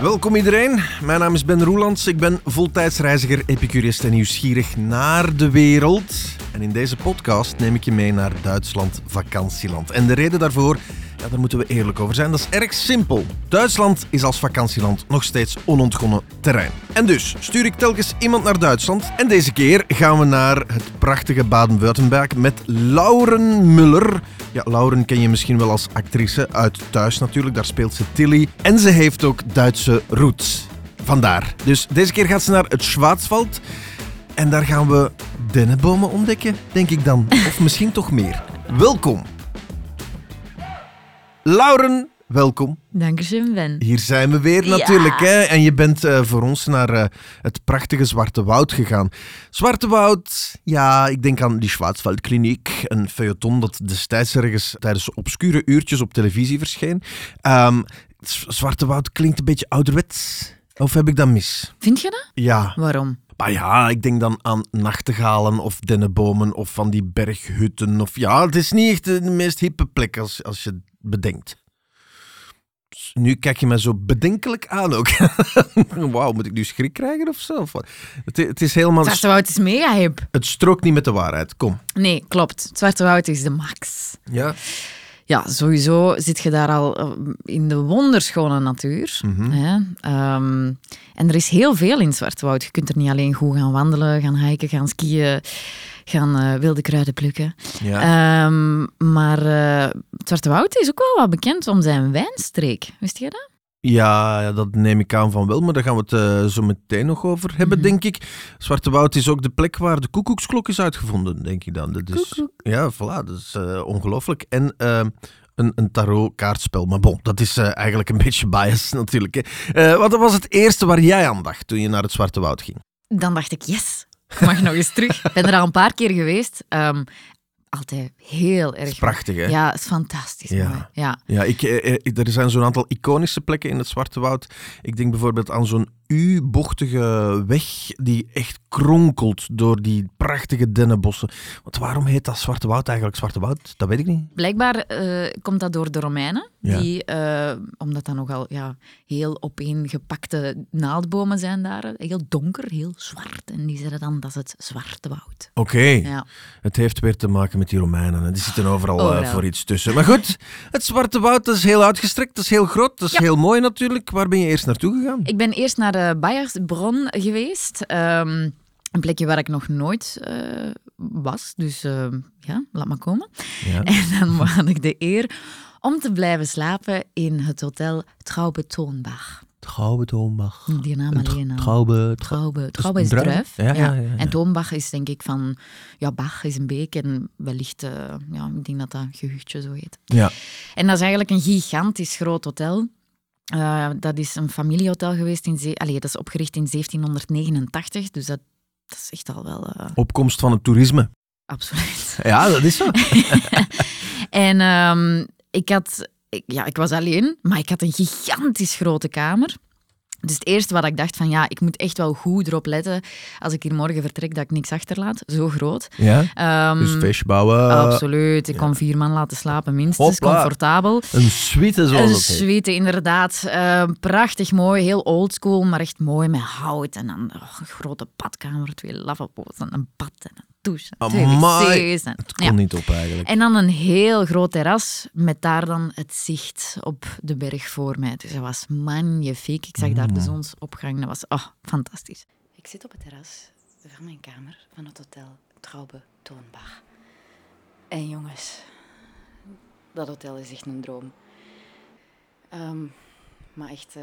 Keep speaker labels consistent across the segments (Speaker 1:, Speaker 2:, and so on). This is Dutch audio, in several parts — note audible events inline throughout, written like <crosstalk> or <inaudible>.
Speaker 1: Welkom iedereen. Mijn naam is Ben Roelands. Ik ben voltijdsreiziger, epicurist en nieuwsgierig naar de wereld. En in deze podcast neem ik je mee naar Duitsland, vakantieland. En de reden daarvoor, ja, daar moeten we eerlijk over zijn, dat is erg simpel. Duitsland is als vakantieland nog steeds onontgonnen terrein. En dus stuur ik telkens iemand naar Duitsland. En deze keer gaan we naar het prachtige Baden-Württemberg met Lauren Muller. Ja, Lauren ken je misschien wel als actrice uit Thuis natuurlijk. Daar speelt ze Tilly. En ze heeft ook Duitse roots. Vandaar. Dus deze keer gaat ze naar het Schwarzwald. En daar gaan we dennenbomen ontdekken, denk ik dan. Of misschien toch meer. Welkom. Lauren, welkom.
Speaker 2: Dankeschön, Ben.
Speaker 1: Hier zijn we weer
Speaker 2: Ja.
Speaker 1: natuurlijk. Hè? En je bent eh, voor ons naar eh, het prachtige Zwarte Woud gegaan. Zwarte Woud, ja, ik denk aan die Schwarzwaldkliniek. Een feuilleton dat destijds ergens tijdens obscure uurtjes op televisie verscheen. Ehm, Z- Zwarte Woud klinkt een beetje ouderwets. Of heb ik dat mis?
Speaker 2: Vind je dat?
Speaker 1: Ja.
Speaker 2: Waarom?
Speaker 1: Maar Ah ja, ik denk dan aan nachtegalen of dennenbomen of van die berghutten. Of ja, het is niet echt de meest hippe plek als, als je het bedenkt. S- Nu kijk je mij zo bedenkelijk aan ook. <laughs> Wauw, moet ik nu schrik krijgen of zo? Of wat? Het, i- het is helemaal...
Speaker 2: Het Zwarte Woud is mega hip.
Speaker 1: Het strookt niet met de waarheid. Kom.
Speaker 2: Nee, klopt. Het Zwarte Woud is de max.
Speaker 1: Ja.
Speaker 2: Ja, sowieso zit je daar al eh, in de wonderschone natuur.
Speaker 1: Mhm.
Speaker 2: hè. Ehm, en er is heel veel in het Zwarte Woud. Je kunt er niet alleen goed gaan wandelen, gaan hiken, gaan skiën, gaan eh, wilde kruiden plukken.
Speaker 1: ja.
Speaker 2: Ehm, maar eh, het Zwarte Woud is ook wel wat bekend om zijn wijnstreek. Wist je dat?
Speaker 1: Ja, ja, dat neem ik aan van wel, maar daar gaan we het eh, zo meteen nog over hebben,
Speaker 2: Mhm.
Speaker 1: denk ik. Zwarte Woud is ook de plek waar de koekoeksklok is uitgevonden, denk ik dan. Dat is,
Speaker 2: Koekoek.
Speaker 1: Ja, voilà, dat is eh, ongelooflijk. En eh, een, een tarotkaartspel, maar bon, dat is eh, eigenlijk een <laughs> beetje bias natuurlijk. Hè. Eh, wat was het eerste waar jij aan dacht toen je naar het Zwarte Woud ging?
Speaker 2: dan dacht ik, yes, ik mag nog eens terug. Ik ben er al een paar keer geweest. Ehm, altijd heel
Speaker 1: Dat
Speaker 2: erg
Speaker 1: is prachtig, hè?
Speaker 2: Ja, het is fantastisch
Speaker 1: Ja.
Speaker 2: mooi. Ja.
Speaker 1: Ja, ik, eh, eh, ik- er zijn zo'n aantal iconische plekken in het Zwarte Woud. Ik denk bijvoorbeeld aan zo'n U-bochtige weg die echt kronkelt door die prachtige dennenbossen. Want waarom heet dat Zwarte Woud eigenlijk Zwarte Woud? Dat weet ik niet.
Speaker 2: Blijkbaar eh, komt dat door de Romeinen,
Speaker 1: Ja.
Speaker 2: die, eh, omdat dat nogal ja, heel opeengepakte naaldbomen zijn daar, heel donker, heel zwart. En die zeiden dan, dat is het zwarte woud.
Speaker 1: Oké,
Speaker 2: Ja.
Speaker 1: het heeft weer te maken met die Romeinen. hè. Die zitten overal eh,
Speaker 2: Overal.
Speaker 1: voor iets tussen. Maar goed, het Zwarte Woud dat is heel uitgestrekt, dat is heel groot, dat is
Speaker 2: Ja.
Speaker 1: heel mooi natuurlijk. Waar ben je eerst naartoe gegaan?
Speaker 2: Ik ben eerst naar de Bayersbron geweest. ehm, een plekje waar ik nog nooit eh, was. Dus eh, ja, laat maar komen.
Speaker 1: Ja.
Speaker 2: En dan <laughs> had ik de eer om te blijven slapen in het hotel Traube Toonbach.
Speaker 1: Traube Toonbach.
Speaker 2: Die naam alleen al.
Speaker 1: Traube,
Speaker 2: Traube,
Speaker 1: is
Speaker 2: Traube is
Speaker 1: een druif?
Speaker 2: druif.
Speaker 1: Ja, ja, ja, ja.
Speaker 2: En Toonbach is denk ik van... Ja, Bach is een beek en wellicht... eh, ja, ik denk dat dat gehuchtje zo heet.
Speaker 1: Ja.
Speaker 2: En dat is eigenlijk een gigantisch groot hotel. Eh, dat is een familiehotel geweest. In ze- Allee, dat is opgericht in 1789. Dus dat, dat is echt al wel... eh,
Speaker 1: Opkomst van het toerisme.
Speaker 2: absoluut.
Speaker 1: Ja, dat is zo.
Speaker 2: <laughs> En ehm, ik had, ik- ja, ik was alleen, maar ik had een gigantisch grote kamer. Dus het eerste wat ik dacht van ja, ik moet echt wel goed erop letten als ik hier morgen vertrek dat ik niks achterlaat. Zo groot.
Speaker 1: Ja.
Speaker 2: Ehm,
Speaker 1: Dus feestbouwen.
Speaker 2: absoluut. Ik kon vier man laten slapen minstens.
Speaker 1: Hopla.
Speaker 2: Comfortabel.
Speaker 1: Een suite zoals
Speaker 2: Een
Speaker 1: dat heet.
Speaker 2: suite, inderdaad. Eh, prachtig mooi, heel oldschool, maar echt mooi met hout. En dan oh, een grote badkamer, twee lavabo's en een bad en een douche. en twee
Speaker 1: Amai.
Speaker 2: wc's en-
Speaker 1: Oh Het kon
Speaker 2: ja.
Speaker 1: niet op eigenlijk.
Speaker 2: En dan een heel groot terras met daar dan het zicht op de berg voor mij. Dus dat was magnifiek. Ik zag daar de zonsopgang. Dat was oh, fantastisch.
Speaker 3: Ik zit op het terras van mijn kamer van het hotel Traube Toonbach. En jongens, dat hotel is echt een droom. Ehm, maar echt eh,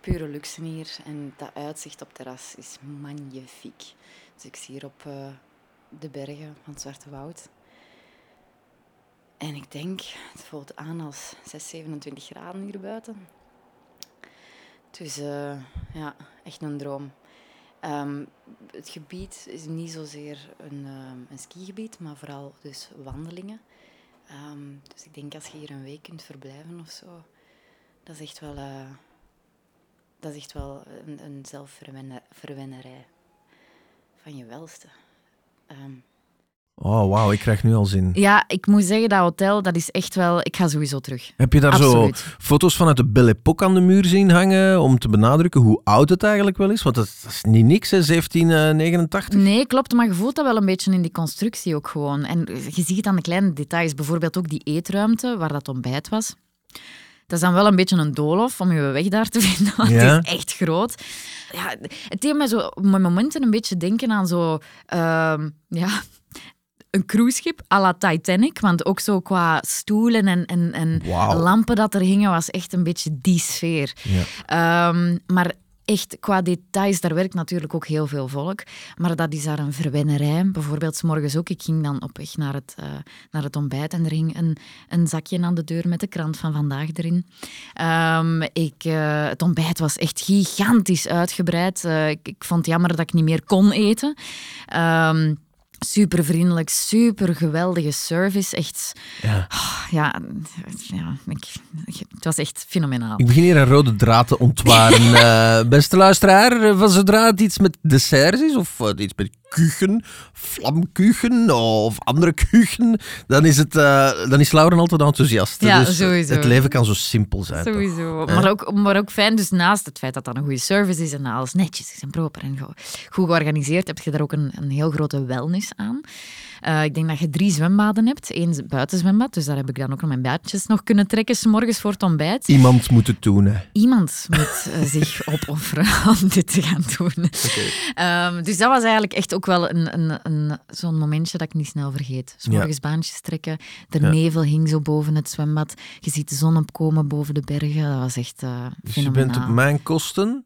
Speaker 3: pure luxe hier. En dat uitzicht op het terras is magnifiek. Dus ik zie hier op eh, de bergen van het Zwarte Woud. En ik denk, het voelt aan als 6, 27 graden hier buiten. Dus eh, ja, echt een droom. Ehm, het gebied is niet zozeer een, ehm, een skigebied, maar vooral dus wandelingen. Ehm, dus ik denk als je hier een week kunt verblijven of zo, dat is echt wel, eh, dat is echt wel een, een zelfverwennerij van je welste. Ehm,
Speaker 1: Oh, wauw, ik krijg nu al zin.
Speaker 2: Ja, ik moet zeggen, dat hotel, dat is echt wel... Ik ga sowieso terug.
Speaker 1: Heb je daar
Speaker 2: Absoluut.
Speaker 1: zo foto's vanuit de Belle Époque aan de muur zien hangen om te benadrukken hoe oud het eigenlijk wel is? Want dat, dat is niet niks, hè, eh, 1789.
Speaker 2: Nee, klopt, maar je voelt dat wel een beetje in die constructie ook gewoon. En je ziet het aan de kleine details. Bijvoorbeeld ook die eetruimte waar dat ontbijt was. Dat is dan wel een beetje een doolhof om je weg daar te <laughs> vinden, want
Speaker 1: Ja.
Speaker 2: het is echt groot. Ja, het deed mij zo op mijn momenten een beetje denken aan zo... ehm, ja, een cruiseschip à la Titanic, want ook zo qua stoelen en, en, en
Speaker 1: Wauw.
Speaker 2: lampen dat er hingen, was echt een beetje die sfeer.
Speaker 1: Ja.
Speaker 2: Ehm, maar echt, qua details, daar werkt natuurlijk ook heel veel volk. Maar dat is daar een verwennerij. Bijvoorbeeld, 's morgens ook. Ik ging dan op weg naar het, eh, naar het ontbijt en er hing een, een zakje aan de deur met de krant van vandaag erin. Ehm, ik, eh, het ontbijt was echt gigantisch uitgebreid. Eh, ik, ik vond het jammer dat ik niet meer kon eten. Ehm super vriendelijk, super geweldige service. Echt, oh,
Speaker 1: Ja.
Speaker 2: ja, ja ik- ik- het was echt fenomenaal.
Speaker 1: Ik begin hier een rode draad te ontwaren.
Speaker 2: <laughs>
Speaker 1: Eh, beste luisteraar, eh, van zodra het iets met desserts is, of eh, iets met kuchen, vlamkuchen of andere kuchen, dan is, het, eh, dan is Lauren altijd enthousiast.
Speaker 2: Ja,
Speaker 1: dus
Speaker 2: sowieso.
Speaker 1: Het leven kan zo simpel zijn. toch?
Speaker 2: Sowieso.
Speaker 1: Ja.
Speaker 2: Maar ook, maar ook fijn, dus naast het feit dat dat een goede service is en dat alles netjes is en proper en go- goed georganiseerd, heb je daar ook een, een heel grote wellness aan. Eh, ik denk dat je drie zwembaden hebt. Eén buitenzwembad, dus daar heb ik dan ook nog mijn buitjes nog kunnen trekken, s'morgens voor het ontbijt.
Speaker 1: Iemand moet het doen, hè.
Speaker 2: Iemand moet eh, <laughs> zich opofferen om dit te gaan doen. Ehm, dus dat was eigenlijk echt ook wel een, een, een, zo'n momentje dat ik niet snel vergeet. 's
Speaker 1: Ja.
Speaker 2: morgens baantjes trekken, de
Speaker 1: Ja.
Speaker 2: nevel hing zo boven het zwembad. Je ziet de zon opkomen boven de bergen. Dat was echt eh
Speaker 1: Dus je
Speaker 2: fenomenaal.
Speaker 1: bent op mijn kosten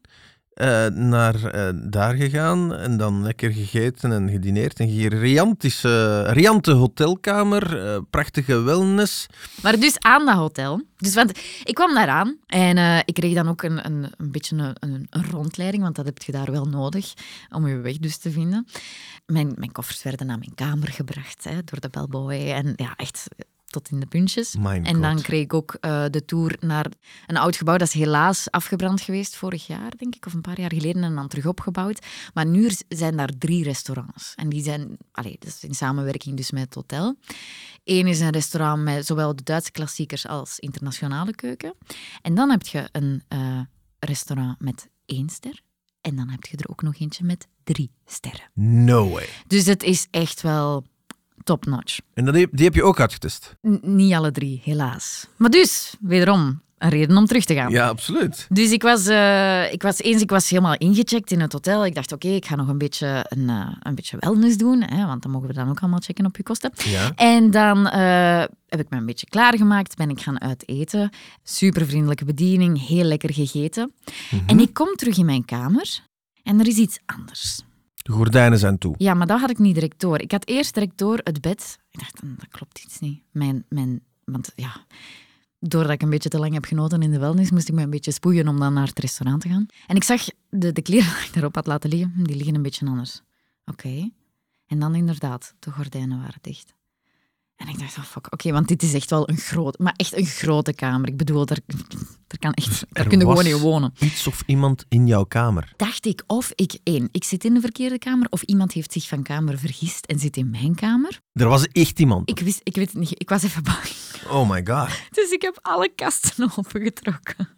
Speaker 1: eh, naar eh, daar gegaan en dan lekker gegeten en gedineerd. En hier riantische, riante hotelkamer, eh, prachtige wellness.
Speaker 2: Maar dus aan dat hotel. Dus want ik kwam daar aan en eh, ik kreeg dan ook een, een, een beetje een, een, een rondleiding, want dat heb je daar wel nodig om je weg dus te vinden. Mijn, mijn koffers werden naar mijn kamer gebracht hè, door de bellboy en ja, echt tot in de puntjes.
Speaker 1: Mijn
Speaker 2: en dan
Speaker 1: god.
Speaker 2: kreeg ik ook eh, de tour naar een oud gebouw. Dat is helaas afgebrand geweest vorig jaar, denk ik, of een paar jaar geleden. En dan terug opgebouwd. Maar nu er z- zijn daar drie restaurants. En die zijn, allee, dat is in samenwerking dus met het hotel. Eén is een restaurant met zowel de Duitse klassiekers als internationale keuken. En dan heb je een eh, restaurant met één ster. En dan heb je er ook nog eentje met drie sterren.
Speaker 1: No way.
Speaker 2: Dus het is echt wel top-notch.
Speaker 1: En dat heb- die heb je ook uitgetest?
Speaker 2: N- niet alle drie, helaas. Maar dus, wederom, een reden om terug te gaan.
Speaker 1: Ja, absoluut.
Speaker 2: Dus ik was, eh, ik was eens ik was helemaal ingecheckt in het hotel. Ik dacht, oké, ik ga nog een beetje, een, eh, een beetje wellness doen. Hè, want dan mogen we dan ook allemaal checken op je kosten.
Speaker 1: Ja.
Speaker 2: En dan eh, heb ik me een beetje klaargemaakt. Ben ik gaan uiteten. Super vriendelijke bediening. Heel lekker gegeten.
Speaker 1: Mhm.
Speaker 2: En ik kom terug in mijn kamer. En er is iets anders.
Speaker 1: De gordijnen zijn toe.
Speaker 2: Ja, maar dat had ik niet direct door. Ik had eerst direct door het bed. Ik dacht, "Mm, dat klopt iets niet. Mijn, mijn, want ja, doordat ik een beetje te lang heb genoten in de wellness, moest ik me een beetje spoeien om dan naar het restaurant te gaan. En ik zag de, de kleren <laughs> die ik daarop had laten liggen, "Hm, die liggen een beetje anders. Oké. En dan inderdaad, de gordijnen waren dicht. En ik dacht, oh fuck, oké, want dit is echt wel een grote, maar echt een grote kamer. Ik bedoel, daar, daar, kan echt, daar
Speaker 1: Er
Speaker 2: kun je gewoon
Speaker 1: was
Speaker 2: in wonen
Speaker 1: Iets of iemand in jouw kamer.
Speaker 2: dacht ik of ik één, ik zit in de verkeerde kamer, of iemand heeft zich van kamer vergist en zit in mijn kamer.
Speaker 1: Er was echt iemand.
Speaker 2: Ik wist, ik weet het niet, ik was even bang. <laughs>
Speaker 1: Oh my god.
Speaker 2: Dus ik heb alle kasten <laughs> opengetrokken.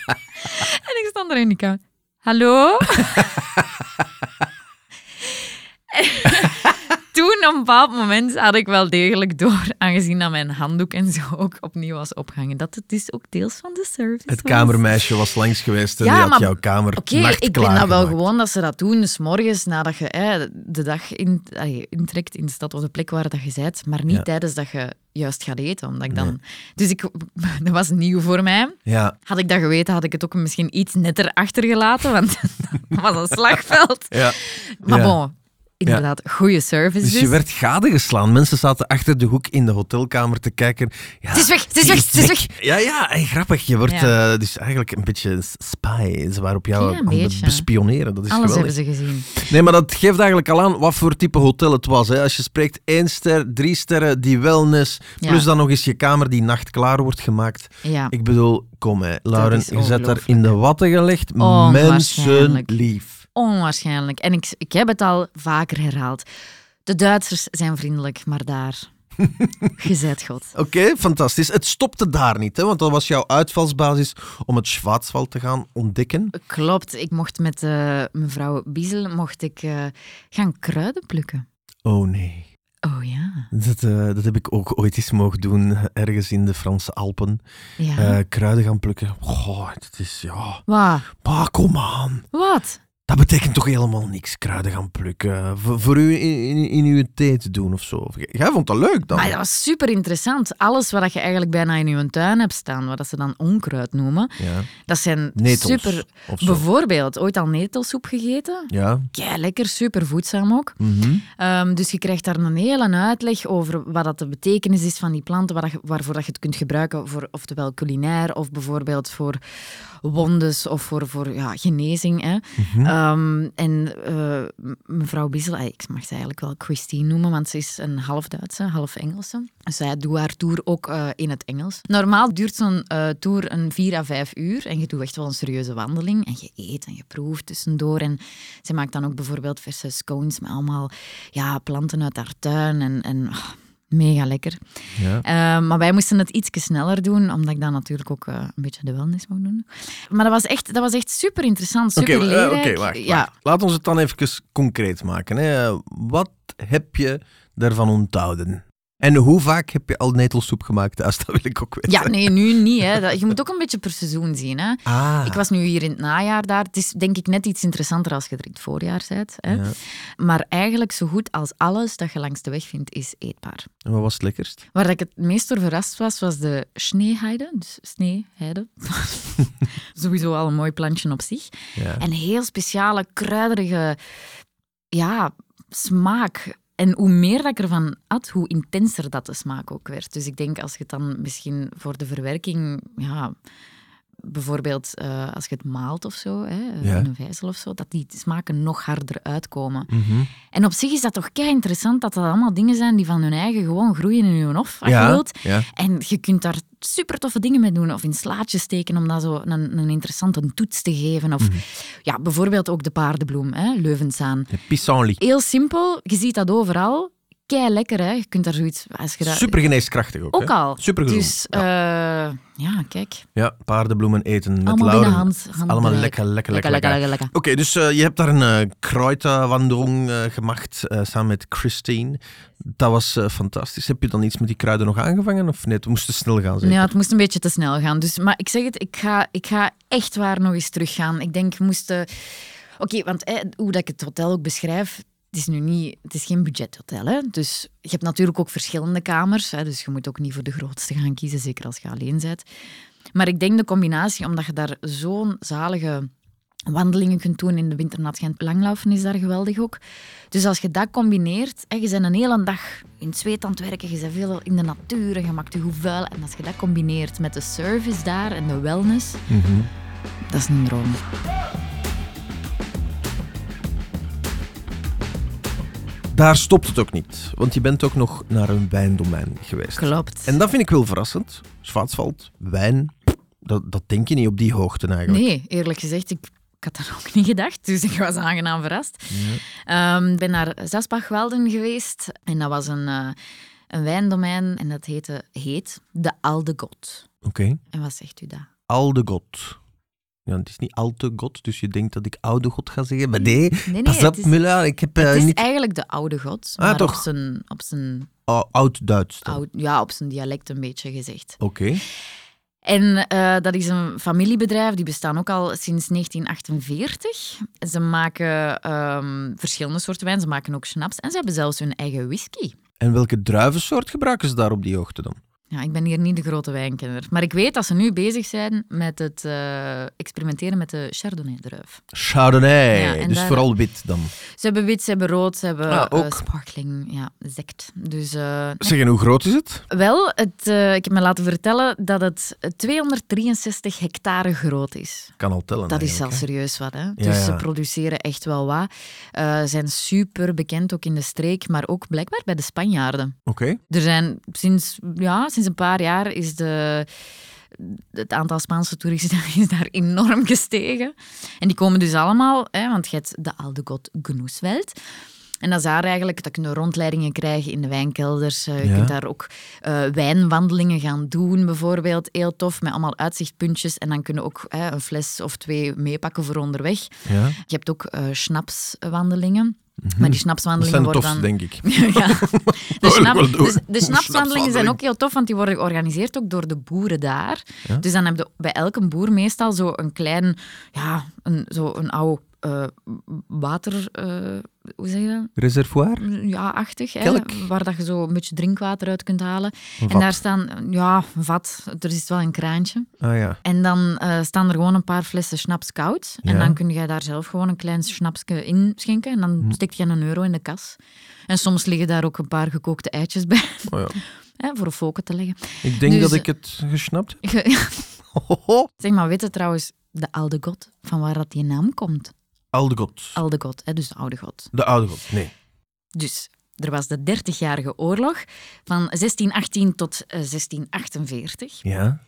Speaker 2: <laughs> en ik stond er in die kamer. Hallo? <laughs> Toen, op een bepaald moment, had ik wel degelijk door, aangezien dat mijn handdoek en zo ook opnieuw was opgehangen, dat het dus ook deels van de service
Speaker 1: Het
Speaker 2: was.
Speaker 1: kamermeisje was langs geweest en
Speaker 2: Ja,
Speaker 1: die had
Speaker 2: maar-
Speaker 1: jouw kamer
Speaker 2: Oké, ik ben dat wel gewoon dat ze dat doen. Dus morgens nadat je hè, de dag in, allee, intrekt in de stad of de plek waar dat je bent, maar niet
Speaker 1: Ja.
Speaker 2: tijdens dat je juist gaat eten. Omdat ik dan... Dus ik, <laughs> dat was nieuw voor mij.
Speaker 1: Ja,
Speaker 2: Had ik dat geweten, had ik het ook misschien iets netter achtergelaten, want <laughs> dat was een slagveld.
Speaker 1: ja.
Speaker 2: Maar
Speaker 1: Ja.
Speaker 2: bon, inderdaad, goede service.
Speaker 1: Dus je
Speaker 2: dus.
Speaker 1: werd gadegeslaan. Mensen zaten achter de hoek in de hotelkamer te kijken. Ja,
Speaker 2: Het is weg, het is
Speaker 1: die
Speaker 2: weg, het is weg.
Speaker 1: Ja, ja, en grappig. Je wordt
Speaker 2: Ja.
Speaker 1: eh, dus eigenlijk een beetje spy. Ze waren op jou
Speaker 2: Ja, een
Speaker 1: aan het
Speaker 2: beetje.
Speaker 1: bespioneren. Dat is
Speaker 2: Alles hebben
Speaker 1: dus geweldig.
Speaker 2: ze gezien.
Speaker 1: Nee, maar dat geeft eigenlijk al aan wat voor type hotel het was. Hè. Als je spreekt één ster, drie sterren, die wellness.
Speaker 2: Ja.
Speaker 1: Plus dan nog eens je kamer die nacht klaar wordt gemaakt.
Speaker 2: Ja.
Speaker 1: Ik bedoel, kom hè, Lauren,
Speaker 2: is
Speaker 1: je zet daar
Speaker 2: ongelooflijk. Oh,
Speaker 1: in de watten gelegd.
Speaker 2: Onwaarschijnlijk.
Speaker 1: Mensenlief.
Speaker 2: Onwaarschijnlijk. En ik, ik heb het al vaker herhaald. De Duitsers zijn vriendelijk, maar
Speaker 1: <laughs>
Speaker 2: daar. Gezet God.
Speaker 1: Oké, fantastisch. Het stopte daar niet, hè? want dat was jouw uitvalsbasis om het Schwarzwald te gaan ontdekken.
Speaker 2: Klopt, ik mocht met eh, mevrouw Biesel mocht ik, eh, gaan kruiden plukken.
Speaker 1: Oh nee.
Speaker 2: Oh ja.
Speaker 1: Dat, eh, dat heb ik ook ooit eens mogen doen, ergens in de Franse Alpen.
Speaker 2: ja.
Speaker 1: Eh, kruiden gaan plukken. Goh, dat is ja.
Speaker 2: Wa-
Speaker 1: Maar kom aan.
Speaker 2: Wat?
Speaker 1: Dat betekent toch helemaal niks, kruiden gaan plukken. Voor, voor u in, in, in uw thee te doen of zo. Of jij- Jij vond dat leuk dan?
Speaker 2: Maar Ah, dat was super interessant. Alles wat je eigenlijk bijna in je tuin hebt staan, wat dat ze dan onkruid noemen,
Speaker 1: Ja.
Speaker 2: dat zijn
Speaker 1: Netels
Speaker 2: super.
Speaker 1: of zo.
Speaker 2: Bijvoorbeeld, ooit al netelsoep gegeten?
Speaker 1: Ja.
Speaker 2: Ja, lekker, super voedzaam ook.
Speaker 1: Mhm.
Speaker 2: Ehm, dus je krijgt daar een hele uitleg over wat dat de betekenis is van die planten, waar dat je- waarvoor dat je het kunt gebruiken, voor, oftewel culinair of bijvoorbeeld voor wondes of voor, voor ja, genezing. Hè. Ehm, en eh, m- mevrouw Bissel, ah, ik mag ze eigenlijk wel Christine noemen, want ze is een half Duitse, half Engelse. Zij doet haar tour ook eh, in het Engels. Normaal duurt zo'n eh, tour een vier à vijf uur en je doet echt wel een serieuze wandeling. En je eet en je proeft tussendoor. En ze maakt dan ook bijvoorbeeld verse scones met allemaal ja, planten uit haar tuin. En, en ah, mega lekker.
Speaker 1: ja.
Speaker 2: Eh, maar wij moesten het ietsje sneller doen, omdat ik dan natuurlijk ook eh, een beetje de wellness wou doen. Maar dat was echt, dat was echt super interessant,
Speaker 1: Oké,
Speaker 2: super
Speaker 1: eh,
Speaker 2: leerrijk.
Speaker 1: oké, wacht,
Speaker 2: Ja,
Speaker 1: wacht. Laat ons het dan even concreet maken. Hè. Wat heb je daarvan onthouden? En hoe vaak heb je al netelsoep gemaakt, Aas? Dat wil ik ook weten. <laughs>
Speaker 2: Ja, nee, nu niet. Hè. Dat- je moet ook een beetje per seizoen zien. Hè.
Speaker 1: Ah.
Speaker 2: Ik was nu hier in het najaar daar. Het is denk ik net iets interessanter als je er in het voorjaar bent. Hè.
Speaker 1: Ja.
Speaker 2: Maar eigenlijk zo goed als alles dat je langs de weg vindt, is eetbaar.
Speaker 1: En wat was het lekkerst?
Speaker 2: Waar ik het meest door verrast was, was de sneeheide. Dus sneeheide. <laughs> Sowieso al een mooi plantje op zich.
Speaker 1: Ja.
Speaker 2: Een heel speciale, kruiderige ja, smaak. En hoe meer dat ik ervan at, hoe intenser dat de smaak ook werd. Dus ik denk als je het dan misschien voor de verwerking, ja, bijvoorbeeld eh, als je het maalt of zo, hè, eh,
Speaker 1: Ja.
Speaker 2: in een vijzel of zo, dat die smaken nog harder uitkomen.
Speaker 1: Mhm.
Speaker 2: En op zich is dat toch kei interessant dat dat allemaal dingen zijn die van hun eigen gewoon groeien in hun hof, als je
Speaker 1: ja.
Speaker 2: wilt.
Speaker 1: ja.
Speaker 2: En je kunt daar super toffe dingen mee doen. Of in slaatjes steken om dat zo een, een interessante toets te geven. Of
Speaker 1: Mhm.
Speaker 2: ja, bijvoorbeeld ook de paardenbloem, hè, Leuvensaan.
Speaker 1: De pissenlit.
Speaker 2: Heel simpel, je ziet dat overal. Kei lekker, hè? Je kunt daar zoiets. Als je dat...
Speaker 1: Super geneeskrachtig ook.
Speaker 2: Ook
Speaker 1: hè?
Speaker 2: al.
Speaker 1: Super gezond.
Speaker 2: Dus eh, ja, kijk.
Speaker 1: Ja, paardenbloemen eten met
Speaker 2: Allemaal
Speaker 1: lauren.
Speaker 2: binnen hand- handbereik.
Speaker 1: Allemaal lekker, lekker, lekker.
Speaker 2: Lekker, lekker, lekker, lekker.
Speaker 1: Oké, dus eh, je hebt daar een eh kruidenwandeling eh, gemaakt eh, samen met Christine. Dat was eh, fantastisch. Heb je dan iets met die kruiden nog aangevangen? Of nee, het moest te snel gaan zeker?
Speaker 2: Ja, het moest een beetje te snel gaan. Dus, maar ik zeg het, ik ga, ik ga echt waar nog eens teruggaan. Ik denk, we moesten... Oké, want eh, hoe dat ik het hotel ook beschrijf, het is nu niet... Het is geen budgethotel, hè. Dus je hebt natuurlijk ook verschillende kamers. Hè, dus je moet ook niet voor de grootste gaan kiezen, zeker als je alleen bent. Maar ik denk de combinatie, omdat je daar zo'n zalige wandelingen kunt doen in de winternat Gent. Langlaufen is daar geweldig ook. Dus als je dat combineert, hè, je bent een hele dag in het zweet aan het werken, je bent veel in de natuur en je maakt je goed vuil. En als je dat combineert met de service daar en de wellness,
Speaker 1: Mhm.
Speaker 2: dat is een droom.
Speaker 1: Daar stopt het ook niet, want je bent ook nog naar een wijndomein geweest.
Speaker 2: Klopt.
Speaker 1: En dat vind ik wel verrassend. Schwarzwald, wijn, dat, dat denk je niet op die hoogte eigenlijk.
Speaker 2: Nee, eerlijk gezegd, ik, ik had dat ook niet gedacht, dus ik was aangenaam verrast. Ehm, Ik ben naar Zaspachwelden geweest en dat was een, eh, een wijndomein en dat heette, heet de Alde God.
Speaker 1: Oké.
Speaker 2: En wat zegt u daar?
Speaker 1: Oude God. Ja, het is niet alte God, dus je denkt dat ik oude God ga zeggen. Maar nee,
Speaker 2: Nee,
Speaker 1: pas
Speaker 2: het
Speaker 1: op,
Speaker 2: is,
Speaker 1: Mula. Ik heb eh,
Speaker 2: het is
Speaker 1: niet
Speaker 2: eigenlijk de oude God,
Speaker 1: Ah,
Speaker 2: maar
Speaker 1: toch.
Speaker 2: op zijn, op zijn,
Speaker 1: ou- oud-Duits. dan.
Speaker 2: oud, ja, op zijn dialect een beetje gezegd.
Speaker 1: Oké.
Speaker 2: En eh, dat is een familiebedrijf, die bestaan ook al sinds 1948. Ze maken ehm, verschillende soorten wijn, ze maken ook schnaps en ze hebben zelfs hun eigen whisky.
Speaker 1: En welke druivensoort gebruiken ze daar op die hoogte dan?
Speaker 2: Ja, ik ben hier niet de grote wijnkenner. Maar ik weet dat ze nu bezig zijn met het eh, experimenteren met de Chardonnay-druif.
Speaker 1: Chardonnay.
Speaker 2: Ja, en
Speaker 1: dus
Speaker 2: daar-
Speaker 1: vooral wit dan.
Speaker 2: Ze hebben wit, ze hebben rood, ze hebben
Speaker 1: Ah,
Speaker 2: eh,
Speaker 1: ook.
Speaker 2: sparkling, ja, zekt. Dus eh,
Speaker 1: Zeg, en hoe groot is het?
Speaker 2: Wel, het, eh, ik heb me laten vertellen dat het 263 hectare groot is.
Speaker 1: Kan al tellen.
Speaker 2: Dat is al
Speaker 1: eigenlijk,
Speaker 2: serieus wat, hè?
Speaker 1: Ja,
Speaker 2: Dus
Speaker 1: ja.
Speaker 2: ze produceren echt wel wat. Eh, zijn super bekend ook in de streek, maar ook blijkbaar bij de Spanjaarden.
Speaker 1: hè? Oké.
Speaker 2: Er zijn sinds, ja, sinds een paar jaar is de, het aantal Spaanse toeristen <laughs> is daar enorm gestegen. En die komen dus allemaal, hè, want je hebt de Alde God Genoesveld. En dat is daar eigenlijk, dat kunnen rondleidingen krijgen in de wijnkelders. Eh, Je
Speaker 1: Ja.
Speaker 2: kunt daar ook eh, wijnwandelingen gaan doen, bijvoorbeeld. Heel tof, met allemaal uitzichtpuntjes. En dan kunnen ook eh, een fles of twee meepakken voor onderweg.
Speaker 1: Ja.
Speaker 2: Je hebt ook eh schnapswandelingen. Maar die
Speaker 1: Mhm. Dat zijn
Speaker 2: schnapswandelingen
Speaker 1: de
Speaker 2: worden
Speaker 1: tofste,
Speaker 2: dan...
Speaker 1: denk ik.
Speaker 2: <laughs> ja. De,
Speaker 1: Wil ik
Speaker 2: schnaps-
Speaker 1: Oh, wel doen.
Speaker 2: dus de snapswandelingen zijn
Speaker 1: Snapswandeling.
Speaker 2: ook heel tof, want die worden georganiseerd ook door de boeren daar.
Speaker 1: Ja.
Speaker 2: Dus dan heb je bij elke boer meestal zo een klein, ja, een, zo een oud eh, water, eh, hoe zeg je dat?
Speaker 1: Reservoir?
Speaker 2: Ja, achtig, hè,
Speaker 1: Kelk.
Speaker 2: waar dat je zo een beetje drinkwater uit kunt halen. En
Speaker 1: Vat.
Speaker 2: daar staan, ja, een vat, er is wel een kraantje.
Speaker 1: Ah ja.
Speaker 2: En dan eh, staan er gewoon een paar flessen schnaps koud. En
Speaker 1: Ja.
Speaker 2: dan kun jij daar zelf gewoon een klein schnapsje in schenken. En dan steek je een euro in de kas. En soms liggen daar ook een paar gekookte eitjes bij, <laughs>
Speaker 1: Oh, ja.
Speaker 2: hè, voor fokken te leggen.
Speaker 1: Ik denk
Speaker 2: Dus,
Speaker 1: dat ik het gesnapt heb. <laughs>
Speaker 2: Ge- <laughs>
Speaker 1: Hoho.
Speaker 2: zeg maar, weet je trouwens de oude god, van waar dat die naam komt?
Speaker 1: Oude god.
Speaker 2: Oude god, hè, dus de oude god.
Speaker 1: De oude god, nee.
Speaker 2: Dus er was de Dertigjarige Oorlog van 1618 tot eh, 1648.
Speaker 1: Ja.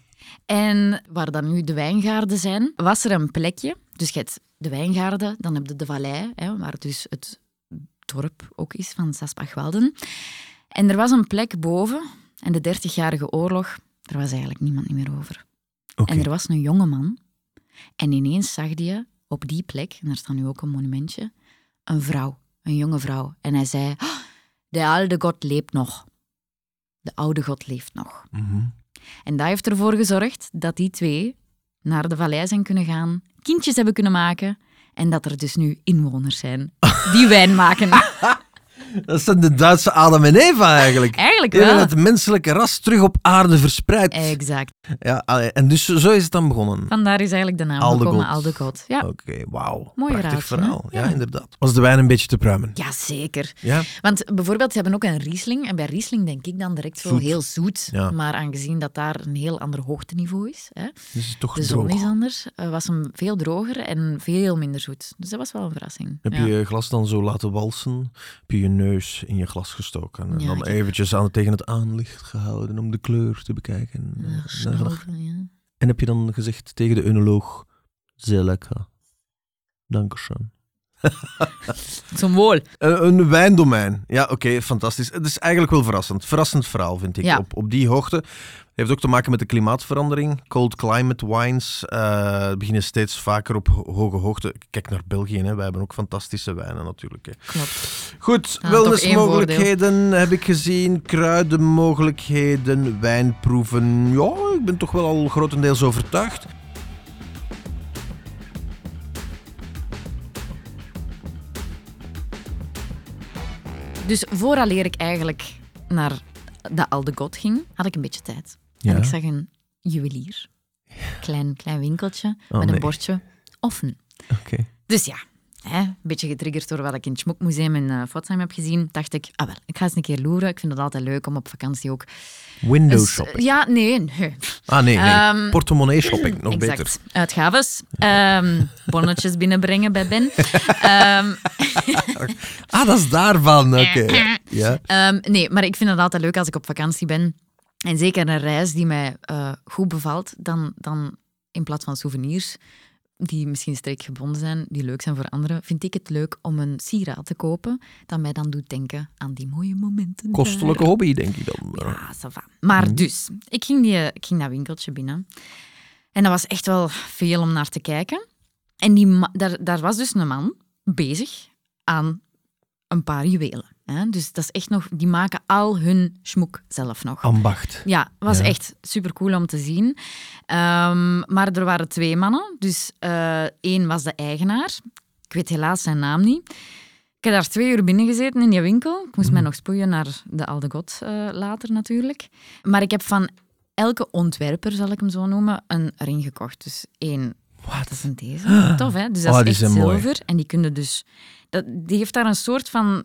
Speaker 2: En waar dan nu de wijngaarden zijn, was er een plekje. Dus je hebt de wijngaarden, dan heb je de vallei, hè, waar dus het dorp ook is van Saspachwalden. En er was een plek boven, en de Dertigjarige Oorlog, er was eigenlijk niemand meer over.
Speaker 1: Oké.
Speaker 2: En er was een jongeman, en ineens zag hij op die plek, en daar staat nu ook een monumentje, een vrouw, een jonge vrouw. En hij zei, "Oh, de oude god leeft nog. De oude god leeft nog.
Speaker 1: Mhm.
Speaker 2: En dat heeft ervoor gezorgd dat die twee naar de vallei zijn kunnen gaan, kindjes hebben kunnen maken en dat er dus nu inwoners zijn
Speaker 1: <laughs>
Speaker 2: die wijn maken.
Speaker 1: Dat zijn de Duitse Adam en Eva eigenlijk.
Speaker 2: Eigenlijk
Speaker 1: Die hebben
Speaker 2: wel.
Speaker 1: het menselijke ras terug op aarde verspreid.
Speaker 2: Exact.
Speaker 1: Ja, allee, en dus zo is het dan begonnen.
Speaker 2: Vandaar is eigenlijk de naam
Speaker 1: Alde
Speaker 2: gekomen,
Speaker 1: God.
Speaker 2: Alde God. Ja.
Speaker 1: Oké, wauw.
Speaker 2: Mooi
Speaker 1: Prachtig
Speaker 2: raadje, hè?
Speaker 1: verhaal. Ja,
Speaker 2: Ja.
Speaker 1: inderdaad. Was de wijn een beetje te pruimen?
Speaker 2: Jazeker.
Speaker 1: Ja.
Speaker 2: Want bijvoorbeeld, ze hebben ook een Riesling. En bij Riesling denk ik dan direct zo
Speaker 1: Zoet.
Speaker 2: heel zoet.
Speaker 1: Ja.
Speaker 2: Maar aangezien dat daar een heel ander hoogteniveau is, hè,
Speaker 1: Dus het is toch
Speaker 2: de zon
Speaker 1: droog.
Speaker 2: is anders, eh, was hem veel droger en veel minder zoet. Dus dat was wel een verrassing.
Speaker 1: Heb
Speaker 2: Ja.
Speaker 1: je je glas dan zo laten walsen? Heb je je neus in je glas gestoken? En
Speaker 2: Ja,
Speaker 1: dan
Speaker 2: ik-
Speaker 1: eventjes aan, tegen het aanlicht gehouden om de kleur te bekijken? En,
Speaker 2: Ja,
Speaker 1: eh, nagedacht.
Speaker 2: snoven, ja.
Speaker 1: En heb je dan gezegd tegen de unoloog... Zeer lekker. Dankeschön.
Speaker 2: Zum Wohl.
Speaker 1: Een, Eh, een wijndomein. Ja, oké, fantastisch. Het is eigenlijk wel verrassend. Verrassend verhaal, vind ik.
Speaker 2: Ja.
Speaker 1: Op, op die hoogte. heeft ook te maken met de klimaatverandering. Cold climate wines eh, beginnen steeds vaker op ho- hoge hoogte. Kijk naar België, hè. wij hebben ook fantastische wijnen natuurlijk. Hè.
Speaker 2: Klopt.
Speaker 1: Goed,
Speaker 2: Ja,
Speaker 1: wellnessmogelijkheden heb ik gezien. Kruidenmogelijkheden, wijnproeven. Ja, ik ben toch wel al grotendeels overtuigd.
Speaker 2: Dus vooraleer ik eigenlijk naar de Alde God ging, had ik een beetje tijd.
Speaker 1: Ja.
Speaker 2: En ik zag een juwelier. Klein, klein winkeltje
Speaker 1: Oh,
Speaker 2: met
Speaker 1: nee.
Speaker 2: een bordje. Offen.
Speaker 1: Oké.
Speaker 2: Dus ja, hè, een beetje getriggerd door wat ik in het Schmokmuseum in eh, Fotzheim heb gezien, dacht ik, ah wel, ik ga eens een keer loeren. Ik vind het altijd leuk om op vakantie ook...
Speaker 1: Window
Speaker 2: eens-
Speaker 1: shopping.
Speaker 2: Ja, nee, nee.
Speaker 1: Ah nee, nee.
Speaker 2: Ehm,
Speaker 1: portemonnee shopping, nog
Speaker 2: exact.
Speaker 1: beter.
Speaker 2: Uitgaves. ehm, bonnetjes binnenbrengen
Speaker 1: <laughs>
Speaker 2: bij Ben. Ehm,
Speaker 1: Ah, dat is daarvan. Oké. Ja. Ja.
Speaker 2: Ehm, nee, maar ik vind het altijd leuk als ik op vakantie ben. En zeker een reis die mij eh, goed bevalt, dan, dan in plaats van souvenirs die misschien streekgebonden zijn, die leuk zijn voor anderen, vind ik het leuk om een sieraad te kopen dat mij dan doet denken aan die mooie momenten.
Speaker 1: Kostelijke hobby, denk ik dan. eh.
Speaker 2: daar. Ja, ça va. Maar dus, ik ging, die, ik ging dat winkeltje binnen. En dat was echt wel veel om naar te kijken. En die ma- daar, daar was dus een man bezig aan een paar juwelen. Hè? Dus dat is echt nog, die maken al hun schmoek zelf nog.
Speaker 1: Ambacht.
Speaker 2: Ja, was
Speaker 1: Ja.
Speaker 2: echt super cool om te zien. Ehm, maar er waren twee mannen. Dus eh, één was de eigenaar. Ik weet helaas zijn naam niet. Ik heb daar twee uur binnen gezeten in die winkel. Ik
Speaker 1: Mhm.
Speaker 2: moest mij nog spoeien naar de Alde God eh, later natuurlijk. Maar ik heb van elke ontwerper, zal ik hem zo noemen, een ring gekocht. Dus één. Dat is een deze. Tof, hè? Dus dat
Speaker 1: Oh,
Speaker 2: is
Speaker 1: die zijn
Speaker 2: echt
Speaker 1: mooi.
Speaker 2: zilver. En die kunnen dus... Dat, die heeft daar een soort van...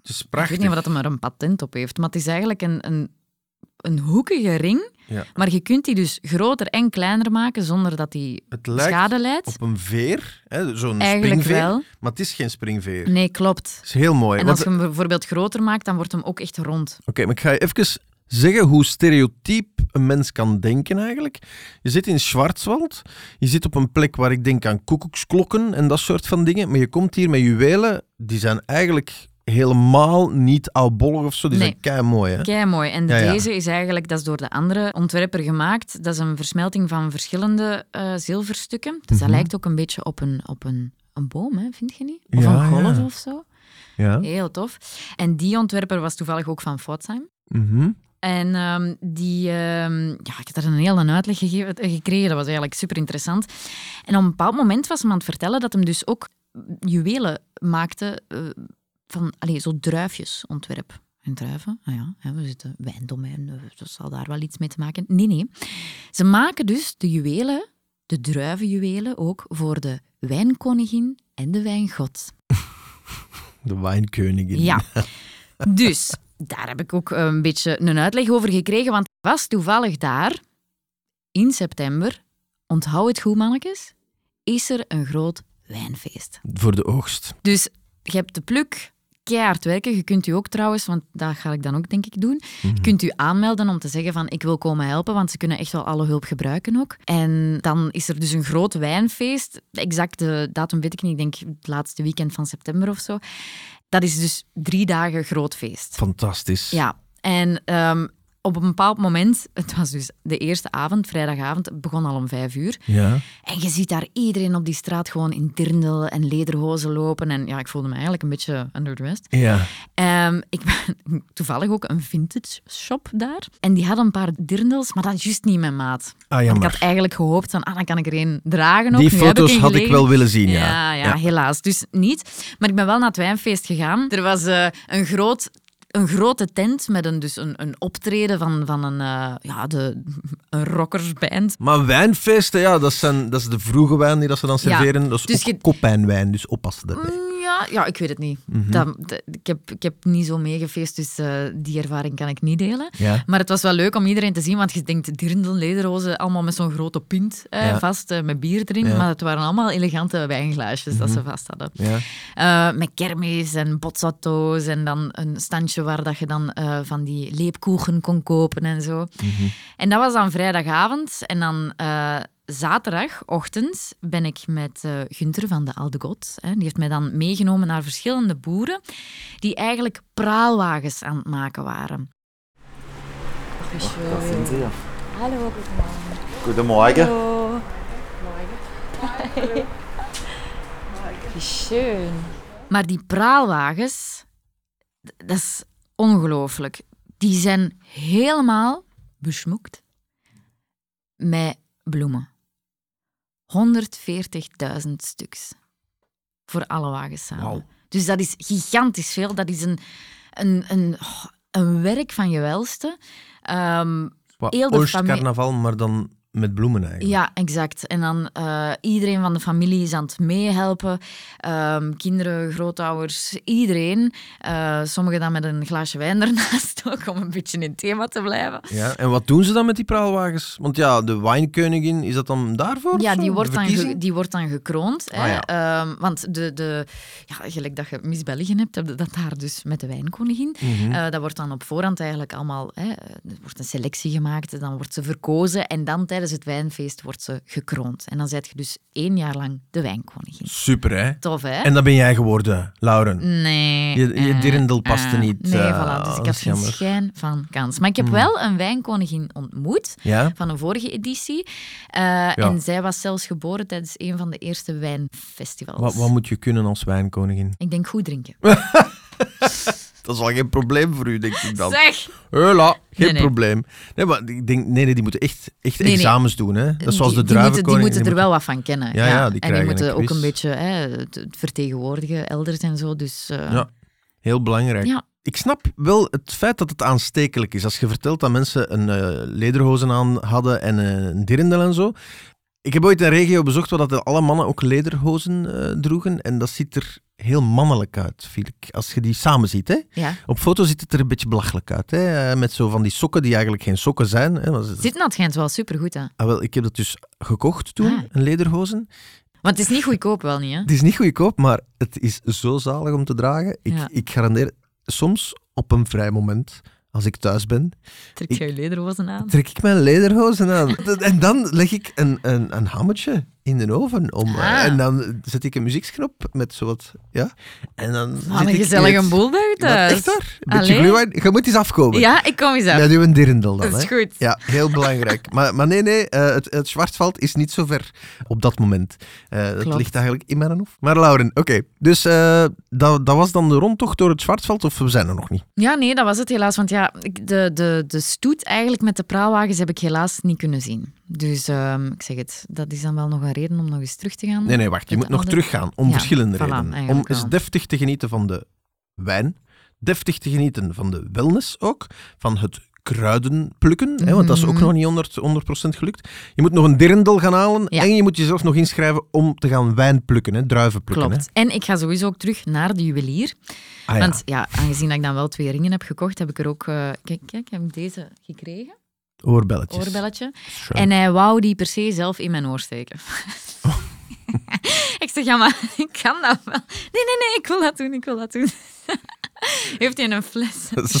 Speaker 1: Het is
Speaker 2: Ik
Speaker 1: prachtig.
Speaker 2: weet niet of dat hem er een patent op heeft, maar het is eigenlijk een, een, een hoekige ring.
Speaker 1: Ja.
Speaker 2: Maar je kunt die dus groter en kleiner maken zonder dat die
Speaker 1: Het lijkt
Speaker 2: schade leidt.
Speaker 1: op een veer, hè, zo'n
Speaker 2: Eigenlijk
Speaker 1: springveer.
Speaker 2: wel.
Speaker 1: Maar het is geen springveer.
Speaker 2: Nee, klopt.
Speaker 1: Het is heel mooi.
Speaker 2: En
Speaker 1: want-
Speaker 2: als je hem bijvoorbeeld groter maakt, dan wordt hem ook echt rond.
Speaker 1: Oké, maar ik ga je even zeggen hoe stereotyp een mens kan denken eigenlijk. Je zit in Schwarzwald, je zit op een plek waar ik denk aan koekoeksklokken en dat soort van dingen, maar je komt hier met juwelen, die zijn eigenlijk helemaal niet oudbollig of zo, die
Speaker 2: Nee.
Speaker 1: zijn kei mooi. Hè?
Speaker 2: Kei mooi. En
Speaker 1: Ja, ja.
Speaker 2: deze is eigenlijk, dat is door de andere ontwerper gemaakt. Dat is een versmelting van verschillende eh, zilverstukken. Dus dat
Speaker 1: Mhm.
Speaker 2: lijkt ook een beetje op een, op een, een boom, hè, vind je niet? Of
Speaker 1: Ja,
Speaker 2: een golf
Speaker 1: ja.
Speaker 2: of zo.
Speaker 1: Ja.
Speaker 2: Heel tof. En die ontwerper was toevallig ook van Pforzheim.
Speaker 1: Mhm.
Speaker 2: En ehm, die, ehm, ja, ik heb daar een hele uitleg gegeven, eh, gekregen. Dat was eigenlijk super interessant. En op een bepaald moment was hem aan het vertellen dat hem dus ook juwelen maakte eh, van allee, zo druifjesontwerp. En druiven? Ah ja, hè, we zitten wijndomein, eh, dat zal daar wel iets mee te maken. Nee, nee. Ze maken dus de juwelen, de druivenjuwelen ook, voor de wijnkoningin en de wijngod.
Speaker 1: De wijnkoningin.
Speaker 2: Ja. Dus daar heb ik ook een beetje een uitleg over gekregen, want ik was toevallig daar in september. Onthoud het goed, mannetjes. Is er een groot wijnfeest.
Speaker 1: Voor de oogst.
Speaker 2: Dus je hebt de pluk, keihard werken. Je kunt u ook trouwens, want dat ga ik dan ook denk ik doen, je
Speaker 1: Mhm.
Speaker 2: kunt u aanmelden om te zeggen van ik wil komen helpen, want ze kunnen echt wel alle hulp gebruiken ook. En dan is er dus een groot wijnfeest. De exacte datum weet ik niet, ik denk het laatste weekend van september of zo. Dat is dus drie dagen groot feest.
Speaker 1: Fantastisch.
Speaker 2: Ja, en ehm, op een bepaald moment, het was dus de eerste avond, vrijdagavond, het begon al om vijf uur.
Speaker 1: Ja.
Speaker 2: En je ziet daar iedereen op die straat gewoon in dirndl en lederhozen lopen. En ja, ik voelde me eigenlijk een beetje underdressed.
Speaker 1: Ja.
Speaker 2: Ehm, ik ben <laughs> toevallig ook een vintage shop daar. En die hadden een paar dirndls, maar dat is juist niet mijn maat.
Speaker 1: Ah,
Speaker 2: Want ik
Speaker 1: jammer.
Speaker 2: had eigenlijk gehoopt van, ah, dan kan ik er een dragen ook.
Speaker 1: Die
Speaker 2: Nu heb
Speaker 1: foto's
Speaker 2: een
Speaker 1: had ik
Speaker 2: gelegen.
Speaker 1: wel willen zien, ja.
Speaker 2: Ja, ja, helaas. Dus niet. Maar ik ben wel naar het wijnfeest gegaan. Er was eh, een, groot, een grote tent met een, dus een, een optreden van, van een, eh, ja, de, <laughs> een rockersband.
Speaker 1: Maar wijnfeesten, ja, dat, zijn, dat is de vroege wijn die dat ze dan
Speaker 2: Ja.
Speaker 1: serveren. Dat is
Speaker 2: Dus
Speaker 1: ook
Speaker 2: je-
Speaker 1: kopijnwijn, dus oppassen daarmee.
Speaker 2: Mm, Ja, ja, ik weet het niet.
Speaker 1: Mhm.
Speaker 2: Dat, dat- ik, heb, ik heb niet zo meegefeest, dus eh, die ervaring kan ik niet delen.
Speaker 1: Ja.
Speaker 2: Maar het was wel leuk om iedereen te zien, want je denkt dirndl, lederhozen, allemaal met zo'n grote pint eh,
Speaker 1: Ja.
Speaker 2: vast, eh, met bier erin.
Speaker 1: Ja. Mhm.
Speaker 2: Maar het waren allemaal elegante wijnglaasjes dat ze vast hadden.
Speaker 1: Ja.
Speaker 2: Eh, met kermis en botsato's en dan een standje waar dat je dan eh, van die leepkoegen kon kopen en zo.
Speaker 1: Mhm.
Speaker 2: En dat was dan vrijdagavond. En dan eh, zaterdagochtend ben ik met eh Gunther van de Oude God. Hè, die heeft mij dan meegenomen naar verschillende boeren die eigenlijk praalwagens aan het maken waren.
Speaker 4: Da sind sie ja.
Speaker 3: Hallo, guten Morgen.
Speaker 4: Guten Morgen.
Speaker 3: Hallo. Wie schön.
Speaker 2: Maar die praalwagens, d- dat is ongelooflijk. Die zijn helemaal besmoekt met bloemen. 140.000 stuks. Voor alle wagens samen.
Speaker 1: Wauw.
Speaker 2: Dus dat is gigantisch veel. Dat is een, een, een, oh, een werk van je welste. Ehm,
Speaker 1: Wat
Speaker 2: Heel de
Speaker 1: Oost
Speaker 2: familie-
Speaker 1: carnaval, maar dan met bloemen eigenlijk.
Speaker 2: ja, exact. En dan eh, iedereen van de familie is aan het meehelpen. Ehm, kinderen, grootouders, iedereen. Eh, sommigen dan met een glaasje wijn ernaast <laughs> ook, om een beetje in het thema te blijven.
Speaker 1: Ja, En wat doen ze dan met die praalwagens? Want ja, de wijnkoningin, is dat dan daarvoor? of
Speaker 2: Ja,
Speaker 1: zo?
Speaker 2: die
Speaker 1: De
Speaker 2: wordt, dan ge-
Speaker 1: verkiezing?
Speaker 2: die wordt dan gekroond.
Speaker 1: Ah,
Speaker 2: hè. Ehm, want de, de, ja, gelijk dat je Miss België hebt, heb je dat daar dus met de wijnkoningin.
Speaker 1: Mhm.
Speaker 2: Eh, dat wordt dan op voorhand eigenlijk allemaal... Hè, er wordt een selectie gemaakt, dan wordt ze verkozen en dan tijdens het wijnfeest wordt ze gekroond. En dan zet je dus één jaar lang de wijnkoningin.
Speaker 1: Super, hè?
Speaker 2: Tof, hè?
Speaker 1: En dat ben jij geworden, Lauren.
Speaker 2: Nee.
Speaker 1: Je- je
Speaker 2: eh,
Speaker 1: dirndl paste
Speaker 2: eh,
Speaker 1: niet,
Speaker 2: Nee,
Speaker 1: eh,
Speaker 2: voilà. Dus ik
Speaker 1: dat
Speaker 2: had
Speaker 1: is
Speaker 2: geen
Speaker 1: jammer. Hmm.
Speaker 2: schijn van kans. Maar ik heb wel een wijnkoningin ontmoet
Speaker 1: Ja?
Speaker 2: van een vorige editie. Eh, En zij was zelfs geboren tijdens een van de eerste wijnfestivals.
Speaker 1: Wat, wat moet je kunnen als wijnkoningin?
Speaker 2: Ik denk goed drinken.
Speaker 1: Dat is wel geen probleem voor u, denk ik dan.
Speaker 2: Zeg!
Speaker 1: Hela, geen
Speaker 2: Nee, nee.
Speaker 1: probleem. Nee, maar ik denk, nee, nee die moeten echt, echt
Speaker 2: Nee, nee.
Speaker 1: examens doen, hè? Dat is zoals
Speaker 2: die,
Speaker 1: de
Speaker 2: die moeten,
Speaker 1: druivenkoning.
Speaker 2: die moeten er
Speaker 1: moeten-
Speaker 2: wel wat van kennen.
Speaker 1: Ja, ja, die
Speaker 2: en die
Speaker 1: krijgen
Speaker 2: moeten
Speaker 1: een
Speaker 2: ook
Speaker 1: quiz.
Speaker 2: een beetje hè, het het vertegenwoordigen elders en zo. Dus eh,
Speaker 1: Ja. Heel belangrijk.
Speaker 2: Ja.
Speaker 1: Ik snap wel het feit dat het aanstekelijk is. Als je vertelt dat mensen een eh, lederhozen aan hadden en eh, een dirndl en zo. Ik heb ooit een regio bezocht waar dat alle mannen ook lederhozen eh, droegen. En dat ziet er heel mannelijk uit, vind ik. Als je die samen ziet, hè.
Speaker 2: ja.
Speaker 1: Op foto ziet het er een beetje belachelijk uit, hè. Eh, Met zo van die sokken die eigenlijk geen sokken zijn. Hè. Want ze-
Speaker 2: Zit dat schijnt wel supergoed aan.
Speaker 1: Ah, wel, ik heb dat dus gekocht toen,
Speaker 2: Ah.
Speaker 1: een lederhozen.
Speaker 2: Want het is niet goedkoop, wel niet, hè?
Speaker 1: Het is niet goedkoop, maar het is zo zalig om te dragen. Ik,
Speaker 2: Ja.
Speaker 1: ik garandeer soms op een vrij moment als ik thuis ben,
Speaker 2: Trek
Speaker 1: Ik-
Speaker 2: jij je lederhozen aan?
Speaker 1: trek ik mijn lederhozen
Speaker 2: <laughs>
Speaker 1: aan. En dan leg ik een, een, een hammetje in de oven. Om, eh,
Speaker 2: Ah.
Speaker 1: En dan zet ik een muzieksknop met zowat. Ja. En dan
Speaker 2: Wat
Speaker 1: zit
Speaker 2: Ah, een
Speaker 1: ik in
Speaker 2: gezellige
Speaker 1: het-
Speaker 2: boel bij je
Speaker 1: Maar
Speaker 2: thuis.
Speaker 1: Echt waar? Een beetje
Speaker 2: Allee.
Speaker 1: glühwein. Je moet eens afkomen.
Speaker 2: Ja, ik kom eens af.
Speaker 1: Met uw dirndl dan.
Speaker 2: <laughs> dat is
Speaker 1: hè.
Speaker 2: goed.
Speaker 1: Ja, heel belangrijk. <laughs> maar, maar nee, nee, eh, het, het Schwarzwald is niet zo ver op dat moment. Eh dat
Speaker 2: Klopt.
Speaker 1: ligt eigenlijk in Maranhof. Maar Lauren, oké. Dus eh, dat, dat was dan de rondtocht door het Schwarzwald, of we zijn er nog niet?
Speaker 2: Ja, nee, dat was het helaas. Want ja, ik- de, de, de stoet eigenlijk met de praalwagens heb ik helaas niet kunnen zien. Dus ehm, ik zeg het, dat is dan wel nog een reden om nog eens terug te gaan.
Speaker 1: Nee, nee, wacht. Je
Speaker 2: Het
Speaker 1: moet nog
Speaker 2: andere-
Speaker 1: teruggaan, om
Speaker 2: Ja,
Speaker 1: verschillende
Speaker 2: voilà,
Speaker 1: redenen. Om
Speaker 2: eigenlijk
Speaker 1: eens
Speaker 2: wel.
Speaker 1: deftig te genieten van de wijn, deftig te genieten van de wellness ook, van het kruiden plukken, hè, want dat is ook
Speaker 2: Mhm.
Speaker 1: nog niet 100, 100% gelukt. Je moet nog een dirndl gaan halen
Speaker 2: Ja.
Speaker 1: en je moet jezelf nog inschrijven om te gaan wijn plukken, hè, druiven plukken.
Speaker 2: Klopt. En ik ga sowieso ook terug naar de juwelier.
Speaker 1: Hè. Ah, ja.
Speaker 2: Want ja, aangezien dat ik dan wel twee ringen heb gekocht, heb ik er ook... eh, kijk, kijk, ik heb deze gekregen,
Speaker 1: Oorbelletjes.
Speaker 2: oorbelletje.
Speaker 1: Sure.
Speaker 2: En hij wou die per se zelf in mijn oor steken.
Speaker 1: Oh.
Speaker 2: <laughs> ik zeg, ja, maar ik kan dat wel. Nee, nee, nee, ik wil dat doen, ik wil dat doen. <laughs> Heeft hij een fles
Speaker 1: <laughs> dat is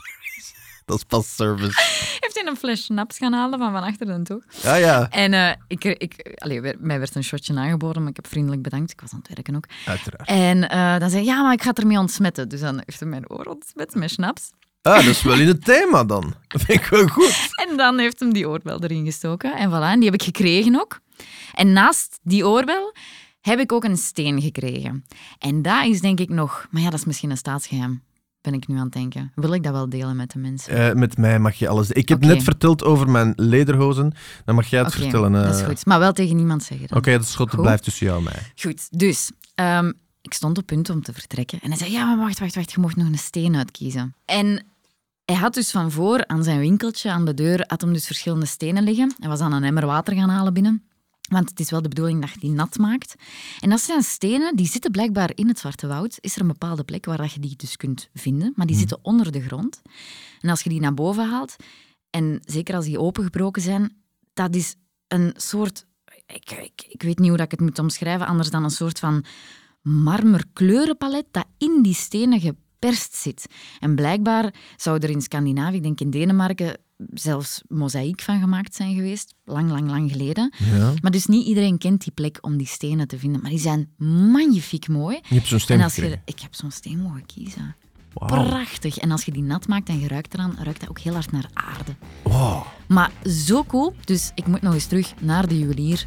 Speaker 1: pas service. Dat is pas service.
Speaker 2: Heeft hij een fles snaps gaan halen van van achter de toog.
Speaker 1: Ja, ja,
Speaker 2: En eh, ik, ik, allee, werd- mij werd een shotje aangeboden, maar ik heb vriendelijk bedankt. Ik was aan het werken ook.
Speaker 1: uiteraard.
Speaker 2: En eh, dan zei hij, ja, maar ik ga het ermee ontsmetten. Dus dan heeft hij mijn oor ontsmet met snaps.
Speaker 1: Ah, dat is wel in het thema dan. Dat vind ik wel goed.
Speaker 2: En dan heeft hem die oorbel erin gestoken. En voilà, en die heb ik gekregen ook. En naast die oorbel heb ik ook een steen gekregen. En dat is denk ik nog... Maar ja, dat is misschien een staatsgeheim, ben ik nu aan het denken. Wil ik dat wel delen met de mensen?
Speaker 1: Eh, met mij mag je alles. Ik heb
Speaker 2: Oké.
Speaker 1: net verteld over mijn lederhozen. Dan mag jij het
Speaker 2: Oké,
Speaker 1: vertellen. eh.
Speaker 2: dat is goed. Maar wel tegen niemand zeggen. dan.
Speaker 1: Oké, dat schot
Speaker 2: Goed.
Speaker 1: blijft tussen jou en mij.
Speaker 2: Goed, dus ehm, ik stond op punt om te vertrekken. En hij zei, ja, maar wacht, wacht, wacht, je mocht nog een steen uitkiezen. En hij had dus van voor aan zijn winkeltje, aan de deur, had hem dus verschillende stenen liggen. Hij was aan een emmer water gaan halen binnen. Want het is wel de bedoeling dat je die nat maakt. En dat zijn stenen, die zitten blijkbaar in het Zwarte Woud. Is er een bepaalde plek waar dat je die dus kunt vinden. Maar die zitten onder de grond. En als je die naar boven haalt, en zeker als die opengebroken zijn, dat is een soort... Ik, ik, ik weet niet hoe dat ik het moet omschrijven, anders dan een soort van marmerkleurenpalet dat in die stenen geperst zit. En blijkbaar zou er in Scandinavië, ik denk in Denemarken, zelfs mozaïek van gemaakt zijn geweest, lang, lang, lang geleden.
Speaker 1: Ja.
Speaker 2: Maar dus niet iedereen kent die plek om die stenen te vinden. Maar die zijn magnifiek mooi.
Speaker 1: Je hebt zo'n stem
Speaker 2: En als je,
Speaker 1: gekregen.
Speaker 2: ik heb zo'n steen mogen kiezen.
Speaker 1: Wauw.
Speaker 2: Prachtig. En als je die nat maakt en je ruikt eraan, ruikt dat ook heel hard naar aarde.
Speaker 1: Wow.
Speaker 2: Maar zo cool. Dus ik moet nog eens terug naar de juwelier.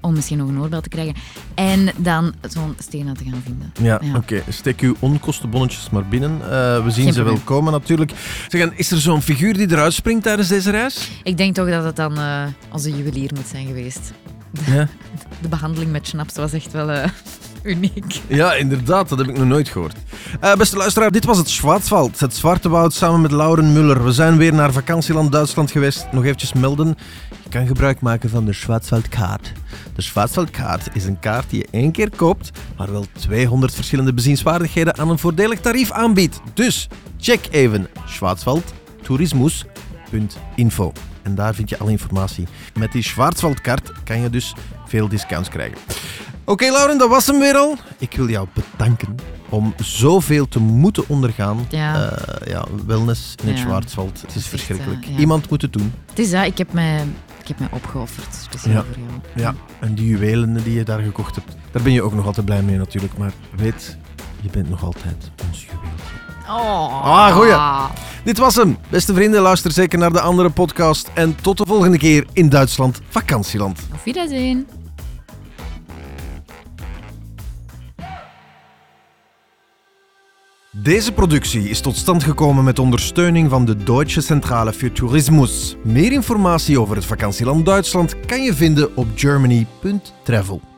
Speaker 2: Om misschien nog een oorbel te krijgen. En dan zo'n steen uit te gaan vinden.
Speaker 1: Ja,
Speaker 2: Ja.
Speaker 1: oké. Steek uw onkostenbonnetjes maar binnen. Eh, we zien
Speaker 2: Geen
Speaker 1: ze wel
Speaker 2: probleem.
Speaker 1: komen natuurlijk. Zeg, en is er zo'n figuur die eruit springt tijdens deze <laughs> reis?
Speaker 2: Ik denk toch dat het dan eh, onze juwelier moet zijn geweest.
Speaker 1: Ja.
Speaker 2: De behandeling met schnaps was echt wel eh, <laughs> uniek.
Speaker 1: Ja, inderdaad, dat heb ik nog nooit gehoord. Eh, beste luisteraar, dit was het Schwarzwald, het Zwarte Woud, samen met Lauren Muller. We zijn weer naar vakantieland Duitsland geweest. Nog eventjes melden, je kan gebruik maken van de Schwarzwaldkaart. De Schwarzwaldkaart is een kaart die je één keer koopt, maar wel 200 verschillende bezienswaardigheden aan een voordelig tarief aanbiedt. Dus check even schwarzwaldtoerismus.info. En daar vind je alle informatie. Met die Schwarzwaldkaart kan je dus veel discounts krijgen. Oké, Lauren, dat was hem weer al. Ik wil jou bedanken om zoveel te moeten ondergaan.
Speaker 2: Ja.
Speaker 1: Eh, ja wellness in het
Speaker 2: Ja.
Speaker 1: Schwarzwald. Het
Speaker 2: is
Speaker 1: is
Speaker 2: echt,
Speaker 1: verschrikkelijk.
Speaker 2: eh, ja.
Speaker 1: Iemand moet het doen.
Speaker 2: Het is dat, ik heb mij, ik heb mij opgeofferd. Speciaal
Speaker 1: Ja.
Speaker 2: voor jou.
Speaker 1: Ja, en die juwelen die je daar gekocht hebt, daar ben je ook nog altijd blij mee natuurlijk. Maar weet, je bent nog altijd ons juweel.
Speaker 2: Oh.
Speaker 1: Ah, goeie. Dit was hem. Beste vrienden, luister zeker naar de andere podcast. En tot de volgende keer in Duitsland, vakantieland.
Speaker 2: Auf Wiedersehen.
Speaker 1: Deze productie is tot stand gekomen met ondersteuning van de Deutsche Centrale für Tourismus. Meer informatie over het vakantieland Duitsland kan je vinden op germany.travel.